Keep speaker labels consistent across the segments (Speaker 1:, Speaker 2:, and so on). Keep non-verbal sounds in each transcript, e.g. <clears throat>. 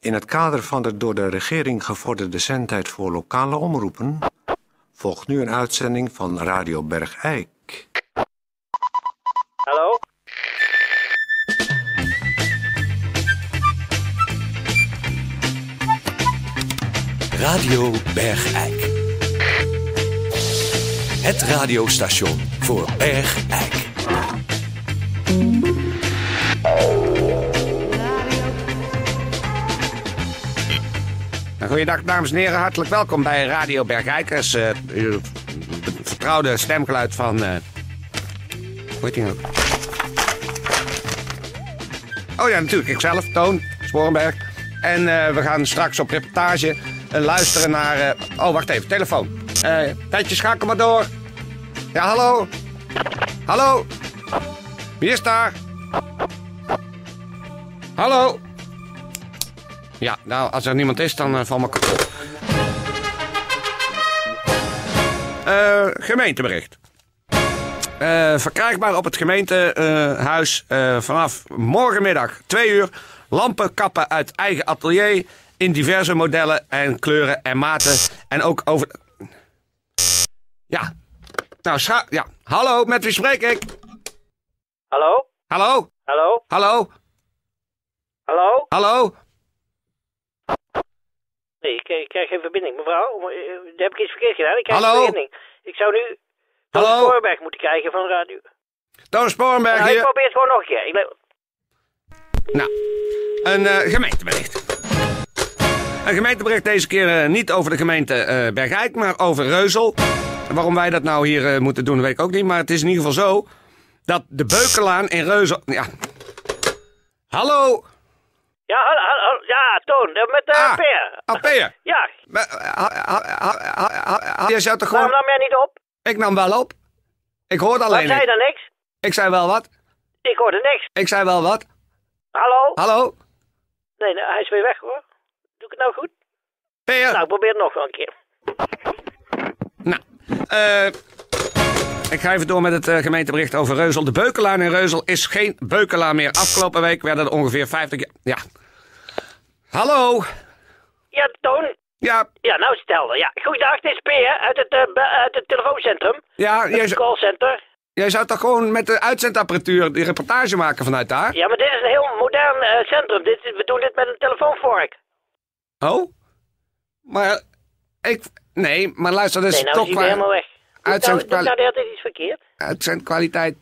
Speaker 1: In het kader van de door de regering gevorderde zendtijd voor lokale omroepen volgt nu een uitzending van Radio Bergijk.
Speaker 2: Hallo?
Speaker 3: Radio Bergijk. Het radiostation voor Bergijk.
Speaker 4: Nou, Goeiedag dames en heren, hartelijk welkom bij Radio Bergijkers. eh, uw vertrouwde stemgeluid van... eh, hoe heet die nou? Oh ja, natuurlijk, ikzelf, Toon Sporenberg. En eh, we gaan straks op reportage eh, luisteren naar... eh, oh, wacht even, telefoon. Eh tijdje, schakel maar door. Ja, hallo? Hallo? Wie is daar? Hallo? Ja, nou, als er niemand is, dan eh, val me kapot. Eh, gemeentebericht. Eh, verkrijgbaar op het gemeentehuis eh, vanaf morgenmiddag 2 uur. Lampen, kappen uit eigen atelier. In diverse modellen en kleuren en maten. En ook over. Ja. Nou, scha- ja. Hallo, met wie spreek ik?
Speaker 2: Hallo?
Speaker 4: Hallo?
Speaker 2: Hallo?
Speaker 4: Hallo?
Speaker 2: Hallo?
Speaker 4: Hallo?
Speaker 2: Nee, ik, ik krijg geen verbinding. Mevrouw, om- eh, heb ik iets verkeerd gedaan? Ik krijg
Speaker 4: Hallo?
Speaker 2: geen verbinding. Ik zou nu
Speaker 4: Hallo?
Speaker 2: de voorberg moeten krijgen van de radio.
Speaker 4: Toon Sporenberg
Speaker 2: Nou, ik
Speaker 4: hier.
Speaker 2: probeer het gewoon nog een keer. Ik ben-
Speaker 4: Nou, een eh, gemeentebericht. Een gemeentebericht deze keer eh, niet over de gemeente eh Bergijk, maar over Reuzel. Waarom wij dat nou hier eh, moeten doen, weet ik ook niet. Maar het is in ieder geval zo dat de Beukenlaan in Reuzel... Ja. Hallo,
Speaker 2: Ja, hallo, hallo, hallo. ja, Toon, eh, met eh
Speaker 4: Ah.
Speaker 2: Peer.
Speaker 4: Alpeer.
Speaker 2: Ja,
Speaker 4: eh, Je zou toch
Speaker 2: waarom
Speaker 4: gewoon...
Speaker 2: nam jij niet op?
Speaker 4: Ik nam wel op. Ik hoorde
Speaker 2: Waarom
Speaker 4: alleen
Speaker 2: zei je
Speaker 4: niet.
Speaker 2: dan niks?
Speaker 4: Ik zei wel wat.
Speaker 2: Ik hoorde niks.
Speaker 4: Ik zei wel wat.
Speaker 2: Hallo?
Speaker 4: Hallo,
Speaker 2: Nee, nou, hij is weer weg hoor. Doe ik het nou goed? Nou,
Speaker 4: Peer.
Speaker 2: ik probeer het nog wel een keer.
Speaker 4: Nou, eh, ik ga even door met het eh, gemeentebericht over Reuzel. De Beukenlaan in Reuzel is geen Beukenlaan meer. Afgelopen week werden er ongeveer 50... ja- Ja. Hallo.
Speaker 2: Ja, Toon.
Speaker 4: Ja,
Speaker 2: Ja, nou stel. Ja. Goeiedag, dit is Peer uit het, eh, be- uit het telefooncentrum.
Speaker 4: ja jij,
Speaker 2: Het
Speaker 4: zou-
Speaker 2: callcenter.
Speaker 4: jij zou toch gewoon met de uitzendapparatuur die reportage maken vanuit daar?
Speaker 2: Ja, maar dit is een heel modern eh, centrum. Dit, we doen dit met een telefoonvork.
Speaker 4: Oh? Maar ik... Nee, maar luister, dat is
Speaker 2: Nee, nou
Speaker 4: toch
Speaker 2: is hij weer helemaal weg. Doe ik nou, doe ik nou de hele tijd iets verkeerd?
Speaker 4: uitzendkwaliteit.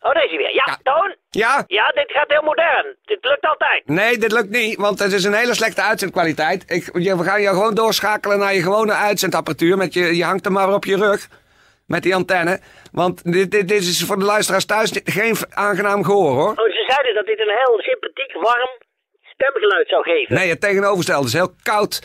Speaker 2: Oh, daar is hij weer. Ja,
Speaker 4: Ja.
Speaker 2: Toon.
Speaker 4: Ja?
Speaker 2: Ja, dit gaat heel modern. Dit lukt altijd.
Speaker 4: Nee, dit lukt niet, want het is een hele slechte uitzendkwaliteit. Ik, je- we gaan jou gewoon doorschakelen naar je gewone uitzendapparatuur. Met je, je hangt hem maar op je rug met die antenne. Want dit, dit, dit is voor de luisteraars thuis ni- geen v- aangenaam gehoor, hoor.
Speaker 2: Oh, ze zeiden dat dit een heel sympathiek, warm stemgeluid zou geven.
Speaker 4: Nee, het tegenovergestelde is heel koud,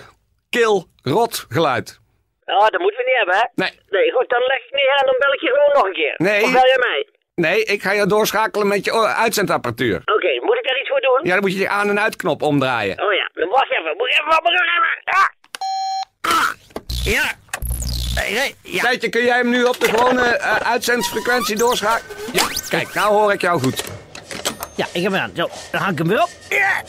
Speaker 4: kil, rot geluid.
Speaker 2: Oh, dat moeten we niet hebben, hè?
Speaker 4: Nee.
Speaker 2: Nee, goed, dan leg ik neer en dan bel ik je gewoon nog een keer.
Speaker 4: Nee.
Speaker 2: Of bel jij mij?
Speaker 4: Nee, ik ga jou doorschakelen met je o- uitzendapparatuur.
Speaker 2: Oké, moet ik daar iets voor doen?
Speaker 4: Ja, dan moet je die aan- en uitknop omdraaien.
Speaker 2: Oh ja, dan wacht even. Moet ik even wat mijn rug hebben? Ah! Ah! Ja. Nee, nee, ja.
Speaker 4: Tijdje, kun jij hem nu op de gewone eh, uitzendfrequentie doorschakelen? Ja, kijk, nou hoor ik jou goed.
Speaker 2: Ja, ik heb hem aan. Zo, dan hang ik hem weer op. Ja.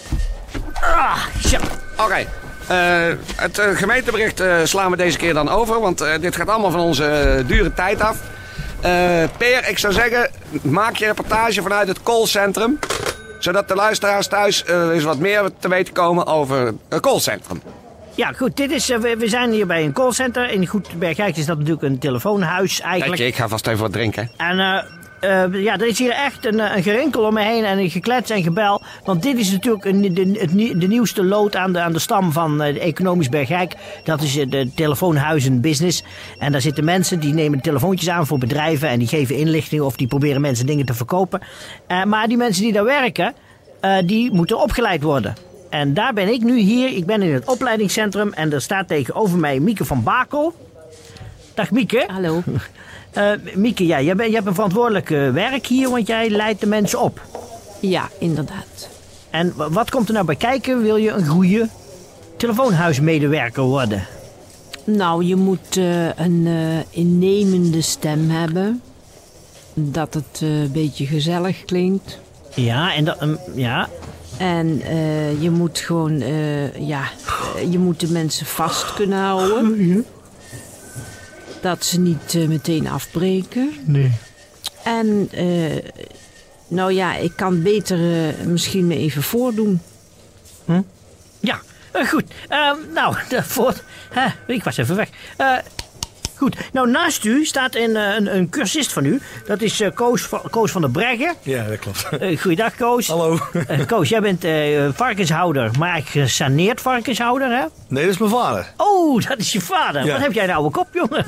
Speaker 2: Ah, zo.
Speaker 4: Oké. eh, het eh, gemeentebericht eh, slaan we deze keer dan over, want eh, dit gaat allemaal van onze eh, dure tijd af. Eh per, ik zou zeggen, maak je reportage vanuit het callcentrum. Zodat de luisteraars thuis eh, eens wat meer te weten komen over het callcentrum.
Speaker 5: Ja, goed. Dit is, eh, we, we zijn hier bij een callcenter. In Goed Bergijk is dat natuurlijk een telefoonhuis eigenlijk.
Speaker 4: Kijk, ik ga vast even wat drinken.
Speaker 5: En eh, eh, ja, er is hier echt een, eh, een gerinkel om me heen en een geklets en gebel. Want dit is natuurlijk een, de, het, nie- de nieuwste lood aan de, aan de stam van eh, de economisch Bergijk. Dat is eh, de telefoonhuizenbusiness. En daar zitten mensen die nemen telefoontjes aan voor bedrijven en die geven inlichtingen of die proberen mensen dingen te verkopen. Eh, maar die mensen die daar werken, eh, die moeten opgeleid worden. En daar ben ik nu hier. Ik ben in het opleidingscentrum en er staat tegenover mij Mieke van Bakel. Dag Mieke.
Speaker 6: Hallo.
Speaker 5: Eh, Mieke, ja, jij, bent- jij hebt een verantwoordelijk eh, werk hier, want jij leidt de mensen op.
Speaker 6: Ja, inderdaad.
Speaker 5: En wa- wat komt er nou bij kijken? Wil je een goede telefoonhuismedewerker worden?
Speaker 6: Nou, je moet eh, een eh, innemende stem hebben. Dat het eh, een beetje gezellig klinkt.
Speaker 5: Ja, en dat, ehm, ja.
Speaker 6: En eh, je moet gewoon, eh, ja, eh, je moet de mensen vast kunnen houden. Dat ze niet eh, meteen afbreken.
Speaker 5: Nee.
Speaker 6: En, eh, nou ja, ik kan beter eh, misschien me even voordoen.
Speaker 5: Ja, eh, goed. Ehm, nou, <laughs> de voort. Hè, ik was even weg. Eh, goed. Nou, naast u staat een, eh, een, een cursist van u. Dat is eh, Koos, van, Koos van der Breggen.
Speaker 7: Ja, dat klopt.
Speaker 5: Eh, goeiedag, Koos.
Speaker 7: Hallo.
Speaker 5: Eh, Koos, jij bent eh, varkenshouder, maar eigenlijk gesaneerd varkenshouder, hè?
Speaker 7: Nee, dat is mijn vader.
Speaker 5: Oh, dat is je vader.
Speaker 7: Ja.
Speaker 5: Wat heb jij een oude kop, jongen?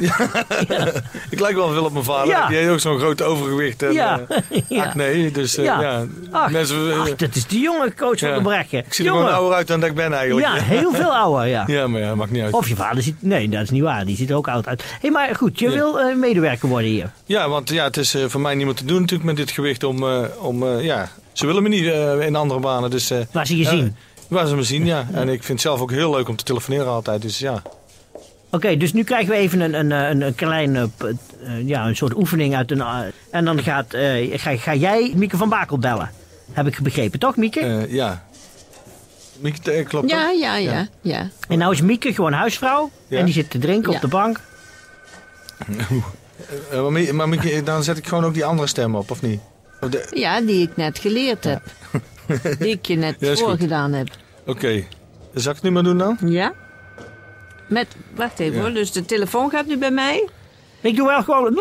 Speaker 7: Ik lijk wel veel op mijn vader.
Speaker 5: Ja.
Speaker 7: Die heeft ook zo'n groot overgewicht.
Speaker 5: <laughs>
Speaker 7: En,
Speaker 5: Ja.
Speaker 7: eh,
Speaker 5: Ja.
Speaker 7: acne. Dus eh,
Speaker 5: Ja.
Speaker 7: ja.
Speaker 5: Ach,
Speaker 7: Mensen, eh,
Speaker 5: ach, dat is die jonge Koos
Speaker 7: ja.
Speaker 5: van der Breggen.
Speaker 7: Ik zie er
Speaker 5: Jongen.
Speaker 7: gewoon ouder uit dan dat ik ben eigenlijk.
Speaker 5: Ja, heel veel ouder, ja.
Speaker 7: <laughs> Ja, maar ja, maakt niet uit.
Speaker 5: Of je vader ziet... Nee, dat is niet waar. Die ziet er ook oud uit. Hé, hey, maar goed, je
Speaker 7: Ja.
Speaker 5: wil eh, medewerker worden hier.
Speaker 7: Ja, want ja, het is eh, voor mij niet meer te doen natuurlijk met dit gewicht om, eh, om eh, ja, ze willen me niet eh, in andere banen. Dus, eh,
Speaker 5: Waar ze je
Speaker 7: ja,
Speaker 5: zien.
Speaker 7: Waar ze me zien, ja. En ik vind het zelf ook heel leuk om te telefoneren altijd. Dus ja,
Speaker 5: Oké, dus nu krijgen we even een, een, eh, een, een kleine, p- eh, ja, een soort oefening uit een... eh, en dan gaat, eh, ga, ga jij Mieke van Bakel bellen. Heb ik begrepen, toch Mieke?
Speaker 7: eh, ja. Mieke, eh, klopt
Speaker 6: Ja,
Speaker 7: dat?
Speaker 6: ja, ja, ja.
Speaker 5: En nou is Mieke gewoon huisvrouw.
Speaker 7: Ja.
Speaker 5: En die zit te drinken
Speaker 6: Ja.
Speaker 5: op de bank.
Speaker 7: Eh, maar Mie- maar Mieke, eh, dan zet ik gewoon ook die andere stem op, of niet? Of de-
Speaker 6: Ja, die ik net geleerd heb. Die ik je net
Speaker 7: Ja, is goed.
Speaker 6: voorgedaan heb.
Speaker 7: Oké. Zal ik het nu maar doen dan?
Speaker 6: Ja? Met, wacht even hoor, dus de telefoon gaat nu bij mij.
Speaker 5: Ik doe wel gewoon...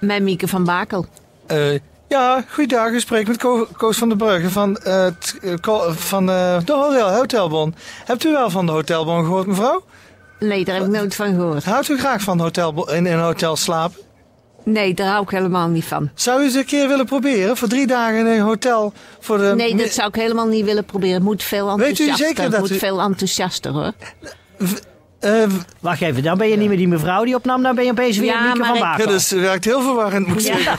Speaker 6: Met Mieke van Bakel.
Speaker 7: Eh, ja, goeiedag. U spreekt met Ko- Koos van den Brugge van, eh, t- eh, Ko- van eh, de Hotel- Hotelbon. Hebt u wel van de Hotelbon gehoord, mevrouw?
Speaker 6: Nee, daar heb ik nooit van gehoord.
Speaker 7: Houdt u graag van hotelbon, in een hotel slapen?
Speaker 6: Nee, daar hou ik helemaal niet van.
Speaker 7: Zou u eens een keer willen proberen? Voor drie dagen in een hotel voor de...
Speaker 6: Nee, dat
Speaker 7: mi-
Speaker 6: zou ik helemaal niet willen proberen. Het moet veel
Speaker 7: Eh, Weet u
Speaker 6: enthousiaster.
Speaker 7: zeker
Speaker 6: Het
Speaker 7: dat
Speaker 6: moet
Speaker 7: u-
Speaker 6: veel enthousiaster hoor.
Speaker 7: eh, w-
Speaker 5: Wacht even, dan ben je niet meer die mevrouw die opnam. Dan ben je opeens weer
Speaker 6: Ja,
Speaker 5: Mieke
Speaker 6: maar
Speaker 5: van
Speaker 6: ik-
Speaker 7: ja, dus-
Speaker 5: Bakel.
Speaker 7: dat is- werkt heel verwarrend. moet ik zeggen.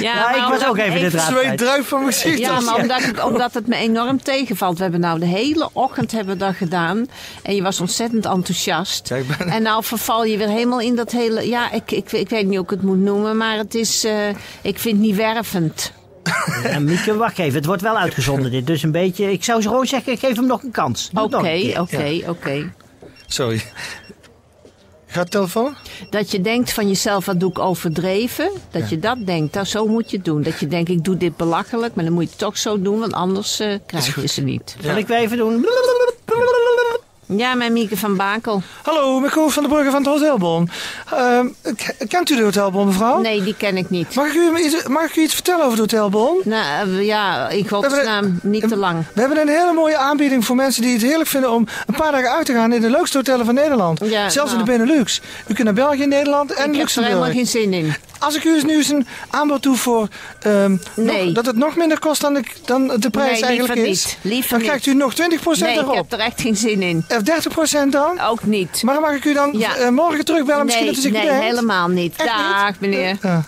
Speaker 5: Ja, ik was
Speaker 6: omdat
Speaker 5: ook
Speaker 6: ik
Speaker 5: even de draad
Speaker 7: Zweet
Speaker 5: kwijt.
Speaker 7: druipt van mijn gezicht.
Speaker 6: Ja, maar omdat, ik- omdat het me enorm tegenvalt. We hebben nou de hele ochtend hebben we dat gedaan. En je was ontzettend enthousiast.
Speaker 7: Ja, ik ben-
Speaker 6: En nou verval je weer helemaal in dat hele... Ja, ik, ik, ik weet niet hoe ik het moet noemen. Maar het is... eh, ik vind het niet wervend.
Speaker 5: En Mieke, wacht even, het wordt wel uitgezonden dit. Dus een beetje... Ik zou ze gewoon zeggen, geef hem nog een kans. Doe het
Speaker 6: Oké,
Speaker 5: nog een keer.
Speaker 6: oké, oké.
Speaker 7: Sorry. Gaat de telefoon?
Speaker 6: Dat je denkt van jezelf, wat doe ik overdreven? Dat je dat denkt, dat, zo moet je het doen. Dat je denkt, ik doe dit belachelijk, maar dan moet je het toch zo doen, want anders eh, krijg je ze niet.
Speaker 5: Zal ik weer even doen?
Speaker 6: Ja, mijn Mieke van Bakel.
Speaker 7: Hallo, met Koos van den Brugge van het Hotelbon. Ehm, k- kent u de Hotelbon,
Speaker 5: Oh.
Speaker 7: mevrouw?
Speaker 6: Nee, die ken ik niet.
Speaker 7: Mag ik, u iets, mag ik u iets vertellen over de Hotelbon?
Speaker 6: Nou, eh, ja, in godsnaam, niet te lang.
Speaker 7: We hebben een hele mooie aanbieding voor mensen die het heerlijk vinden om een paar dagen uit te gaan in de leukste hotellen van Nederland.
Speaker 6: Ja,
Speaker 7: Zelfs in
Speaker 6: nou.
Speaker 7: de Benelux. U kunt naar België, Nederland en
Speaker 6: Ik heb er helemaal
Speaker 7: Luxemburg.
Speaker 6: geen zin in.
Speaker 7: Als ik u eens nu eens een aanbod doe voor ehm,
Speaker 6: Nee.
Speaker 7: nog- dat het nog minder kost dan, ik, dan de prijs
Speaker 6: liever
Speaker 7: eigenlijk is,
Speaker 6: niet. Liever
Speaker 7: dan
Speaker 6: niet.
Speaker 7: krijgt u nog 20%
Speaker 6: Nee, ik
Speaker 7: erop.
Speaker 6: heb er echt geen zin in.
Speaker 7: Of 30% dan?
Speaker 6: Ook niet.
Speaker 7: Maar dan mag ik u dan
Speaker 6: Ja.
Speaker 7: eh, morgen terugbellen, misschien
Speaker 6: nee,
Speaker 7: dat u zich
Speaker 6: nee
Speaker 7: bedenkt.
Speaker 6: helemaal niet.
Speaker 7: Echt niet? Eh,
Speaker 6: Dag, meneer.
Speaker 7: Ja.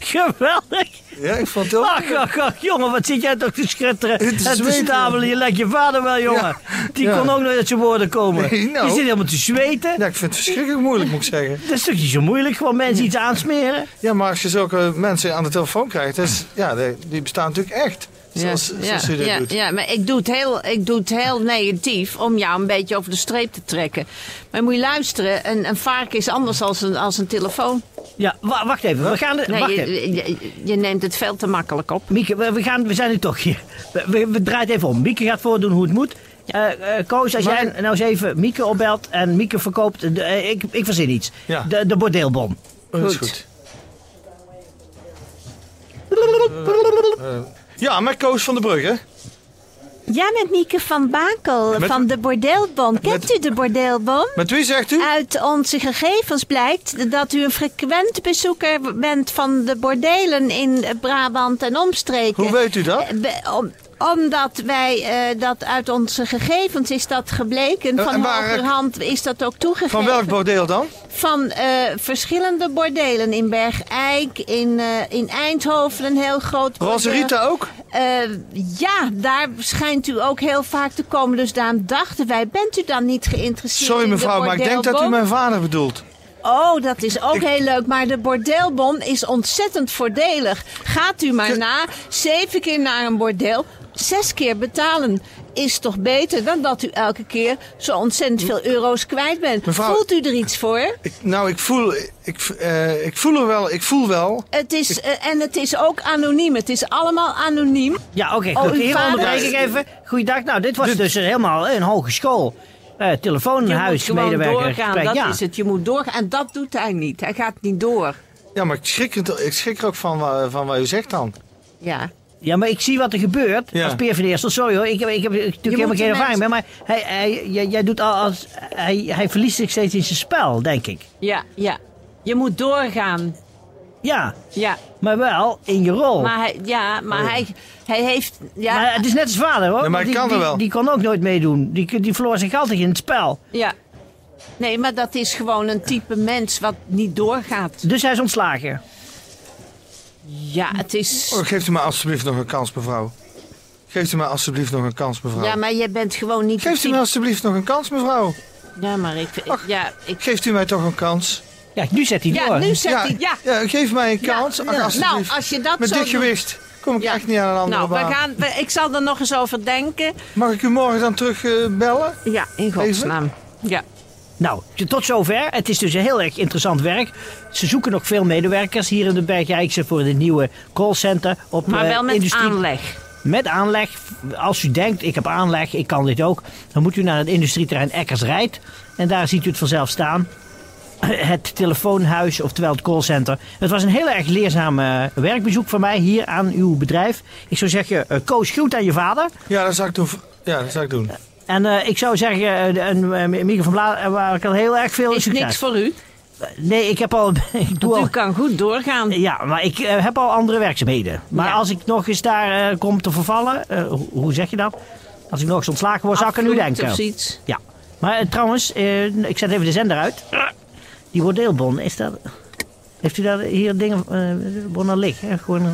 Speaker 5: Geweldig.
Speaker 7: Ja, ik vond het heel...
Speaker 5: Ach, ach, ach, jongen, wat zit jij toch te schitteren
Speaker 7: Het
Speaker 5: en
Speaker 7: is
Speaker 5: te
Speaker 7: zweet,
Speaker 5: stabelen. Je lijkt je vader wel, jongen.
Speaker 7: Ja,
Speaker 5: Die
Speaker 7: ja.
Speaker 5: kon ook nooit uit zijn woorden komen.
Speaker 7: Nee, nou.
Speaker 5: Je zit helemaal te zweten.
Speaker 7: Ja, ik vind het verschrikkelijk moeilijk, moet ik zeggen.
Speaker 5: Dat is toch niet zo moeilijk, gewoon mensen iets aansmeren?
Speaker 7: Ja, maar als je zulke mensen aan de telefoon krijgt, dus, ja, die, die bestaan natuurlijk echt. Zoals, zoals u dat
Speaker 6: ja,
Speaker 7: doet.
Speaker 6: ja, maar ik doe, het heel, ik doe het heel negatief om jou een beetje over de streep te trekken. Maar moet je luisteren, een, een varken is anders dan een, als een telefoon.
Speaker 5: Ja, wa- wacht even. We gaan...
Speaker 6: Nee,
Speaker 5: wacht
Speaker 6: je,
Speaker 5: even.
Speaker 6: je, je neemt het veel te makkelijk op.
Speaker 5: Mieke, we, we gaan, we zijn nu toch hier. We, we, we draaien het even om. Mieke gaat voordoen hoe het moet. Eh, eh, Koos, als jij nou eens even Mieke opbelt en Mieke verkoopt... de- eh, ik, ik verzin iets.
Speaker 7: Ja.
Speaker 5: De, de bordeelbon.
Speaker 7: Oh, dat is goed. Eh, Ja, met Koos van den Brugge.
Speaker 8: Ja, met Mieke van Bakel
Speaker 7: Met-
Speaker 8: van de Bordeelbon. Kent
Speaker 7: Met-
Speaker 8: u de Bordeelbon?
Speaker 7: Met wie zegt u?
Speaker 8: Uit onze gegevens blijkt dat u een frequent bezoeker bent van de bordelen in Brabant en omstreken.
Speaker 7: Hoe weet u dat?
Speaker 8: Eh, be- om- omdat wij eh, dat uit onze gegevens is dat gebleken.
Speaker 7: Eh, en
Speaker 8: Van
Speaker 7: waar-
Speaker 8: hogerhand is dat ook toegegeven.
Speaker 7: Van welk bordeel dan?
Speaker 8: Van eh, verschillende bordelen in Bergijk, in, eh, in Eindhoven een heel groot bordeel.
Speaker 7: Roserita ook?
Speaker 8: Eh, ja, daar schijnt u ook heel vaak te komen. Dus daarom dachten wij, bent u dan niet geïnteresseerd
Speaker 7: Sorry
Speaker 8: in de
Speaker 7: mevrouw, maar ik denk dat u
Speaker 8: bordeelbom?
Speaker 7: mijn vader bedoelt.
Speaker 8: Oh, dat is ook heel leuk. Maar de bordeelbon is ontzettend voordelig. Gaat u maar na. Zeven keer naar een bordeel. Zes keer betalen is toch beter dan dat u elke keer zo ontzettend veel euro's kwijt bent.
Speaker 7: Mevrouw-
Speaker 8: Voelt u er iets voor?
Speaker 7: Ik, nou, ik voel, ik, eh, ik voel er wel, ik voel wel.
Speaker 8: Het is, eh, en het is ook anoniem. Het is allemaal anoniem.
Speaker 5: Ja, oké,
Speaker 8: Oh,
Speaker 5: goed.
Speaker 8: uw
Speaker 5: Hier
Speaker 8: vader-
Speaker 5: onderbreek ik even. Goeiedag. Nou, dit was dus helemaal een hogeschool. eh
Speaker 8: Je
Speaker 5: telefoonhuis,
Speaker 8: moet gewoon
Speaker 5: medewerker,
Speaker 8: doorgaan.
Speaker 5: gesprek.
Speaker 8: Dat
Speaker 5: ja.
Speaker 8: is het. Je moet doorgaan. En dat doet hij niet. Hij gaat niet door.
Speaker 7: Ja, maar ik schrik, het- ik schrik er ook van, wa- van wat u zegt dan.
Speaker 8: Ja.
Speaker 5: ja, maar ik zie wat er gebeurt
Speaker 7: Ja.
Speaker 5: als Peer van Eerstel. Sorry hoor, ik heb, ik heb natuurlijk helemaal
Speaker 8: moet
Speaker 5: geen
Speaker 8: de
Speaker 5: ervaring mee. Maar hij, hij, jij, jij doet al als, hij, hij verliest zich steeds in zijn spel, denk ik.
Speaker 6: Ja, ja. Je moet doorgaan.
Speaker 5: Ja,
Speaker 6: Ja,
Speaker 5: maar wel in je rol.
Speaker 8: Maar hij, ja, maar hij, hij heeft... Ja,
Speaker 5: Oh. Maar het is net als vader hoor.
Speaker 7: Ja, maar
Speaker 5: want
Speaker 7: hij
Speaker 5: die,
Speaker 7: kan er
Speaker 5: die,
Speaker 7: wel.
Speaker 5: die kon ook nooit meedoen. Die, die verloor zich altijd in het spel.
Speaker 6: ja.
Speaker 8: Nee, maar dat is gewoon een type mens wat niet doorgaat.
Speaker 5: Dus hij is ontslagen.
Speaker 8: Ja, het is...
Speaker 7: Oh, geeft u mij alstublieft nog een kans, mevrouw. Geeft u mij alstublieft nog een kans, mevrouw.
Speaker 8: Ja, maar jij bent gewoon niet...
Speaker 7: Geeft u
Speaker 8: het
Speaker 7: mij alstublieft nog een kans, mevrouw.
Speaker 8: type- Ja, maar ik...
Speaker 7: Ach.
Speaker 8: Ja, ik...
Speaker 7: Geeft u mij toch een kans?
Speaker 5: Ja, nu zet hij
Speaker 8: ja
Speaker 5: door.
Speaker 8: nu zegt
Speaker 7: Ja,
Speaker 8: hij... Ja,
Speaker 7: geef mij een kans. Ach,
Speaker 8: ja.
Speaker 7: alstublieft.
Speaker 8: Nou, als je dat
Speaker 7: Met
Speaker 8: zo
Speaker 7: dit
Speaker 8: doet-
Speaker 7: gewicht kom ik
Speaker 8: Ja.
Speaker 7: echt niet aan een andere
Speaker 6: Nou, we
Speaker 7: baan.
Speaker 6: gaan, we- ik zal er nog eens over denken.
Speaker 7: Mag ik u morgen dan terug eh, bellen?
Speaker 8: ja, in godsnaam.
Speaker 6: Ja.
Speaker 5: Nou, tot zover. Het is dus een heel erg interessant werk. Ze zoeken nog veel medewerkers hier in de Bergijkse voor dit nieuwe callcenter. Op,
Speaker 6: Maar
Speaker 5: eh,
Speaker 6: wel met
Speaker 5: industrie...
Speaker 6: aanleg.
Speaker 5: Met aanleg. Als u denkt, ik heb aanleg, ik kan dit ook. Dan moet u naar het industrieterrein Eckers Rijt. En daar ziet u het vanzelf staan. <clears throat> Het telefoonhuis, oftewel het callcenter. Het was een heel erg leerzaam eh, werkbezoek van mij hier aan uw bedrijf. Ik zou zeggen, eh, Koos, groet aan je vader.
Speaker 7: Ja, dat zou ik doen. Ja, dat zou ik doen.
Speaker 5: En eh, ik zou zeggen, eh, en, eh, Mieke van Bla, eh, waar ik al heel erg veel
Speaker 6: Is
Speaker 5: succes.
Speaker 6: niks voor u.
Speaker 5: Nee, ik heb al. <laughs> Ik doe
Speaker 6: U
Speaker 5: al
Speaker 6: kan goed doorgaan.
Speaker 5: ja, maar ik eh, heb al andere werkzaamheden. Maar
Speaker 6: Ja.
Speaker 5: als ik nog eens daar eh, kom te vervallen, eh, ho- hoe zeg je dat? Als ik nog eens ontslagen word, zou ik aan u
Speaker 6: Afvloed
Speaker 5: denken.
Speaker 6: Of zoiets.
Speaker 5: Ja. Maar eh, trouwens, eh, ik zet even de zender uit. Die bordeelbon, is dat... Heeft u daar hier dingen, eh bonnen liggen? hè? Gewoon, eh,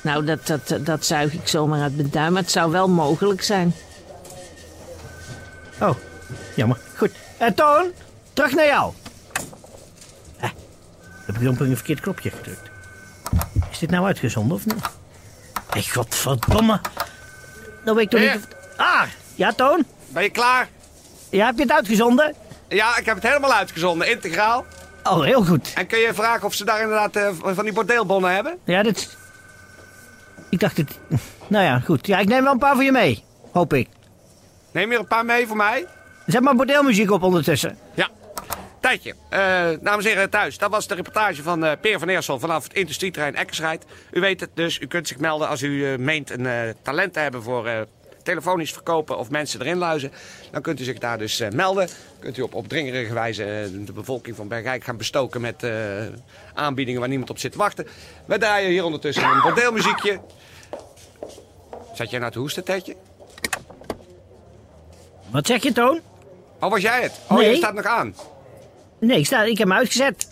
Speaker 6: Nou, dat, dat, dat zuig ik zomaar uit mijn duim. Maar het zou wel mogelijk zijn.
Speaker 5: Oh, jammer. Goed. Eh, Toon, terug naar jou. Hè, heb ik dan op een verkeerd knopje gedrukt. Is dit nou uitgezonden of niet? Hey, godverdomme. Dan weet ik toch niet
Speaker 4: Heer.
Speaker 5: of... Ah, ja Toon?
Speaker 4: Ben je klaar?
Speaker 5: Ja, heb je het uitgezonden?
Speaker 4: Ja, ik heb het helemaal uitgezonden, integraal.
Speaker 5: Oh, heel goed.
Speaker 4: En kun je vragen of ze daar inderdaad eh, van die bordeelbonnen hebben?
Speaker 5: Ja, dat... Ik dacht het... Nou ja, goed. Ja, ik neem wel een paar voor je mee. Hoop ik.
Speaker 4: Neem je er een paar mee voor mij?
Speaker 5: Zet maar bordeelmuziek op ondertussen.
Speaker 4: Ja. Tijdje, Eh, dames en heren thuis, dat was de reportage van eh Peer van Eersel vanaf het industrieterrein Eckersrijd. U weet het dus, u kunt zich melden als u eh, meent een eh, talent te hebben voor eh, telefonisch verkopen of mensen erin luizen. Dan kunt u zich daar dus eh, melden. Kunt u op opdringerige wijze eh, de bevolking van Bergijk gaan bestoken met eh, aanbiedingen waar niemand op zit te wachten. We draaien hier ondertussen een bordeelmuziekje. Zat jij nou te hoesten, Tetje?
Speaker 5: Wat zeg je, Toon?
Speaker 4: Oh, was jij het? Oh,
Speaker 5: Nee.
Speaker 4: je staat nog aan.
Speaker 5: Nee, ik, sta, Nou, ik heb hem uitgezet.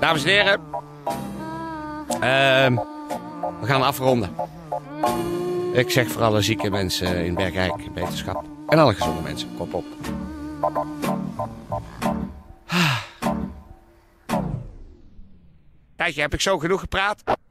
Speaker 4: Dames en heren. Ehm, we gaan afronden. Ik zeg voor alle zieke mensen in Bergrijk, wetenschap. En alle gezonde mensen, kop op. Ah. Tijdje, heb ik zo genoeg gepraat?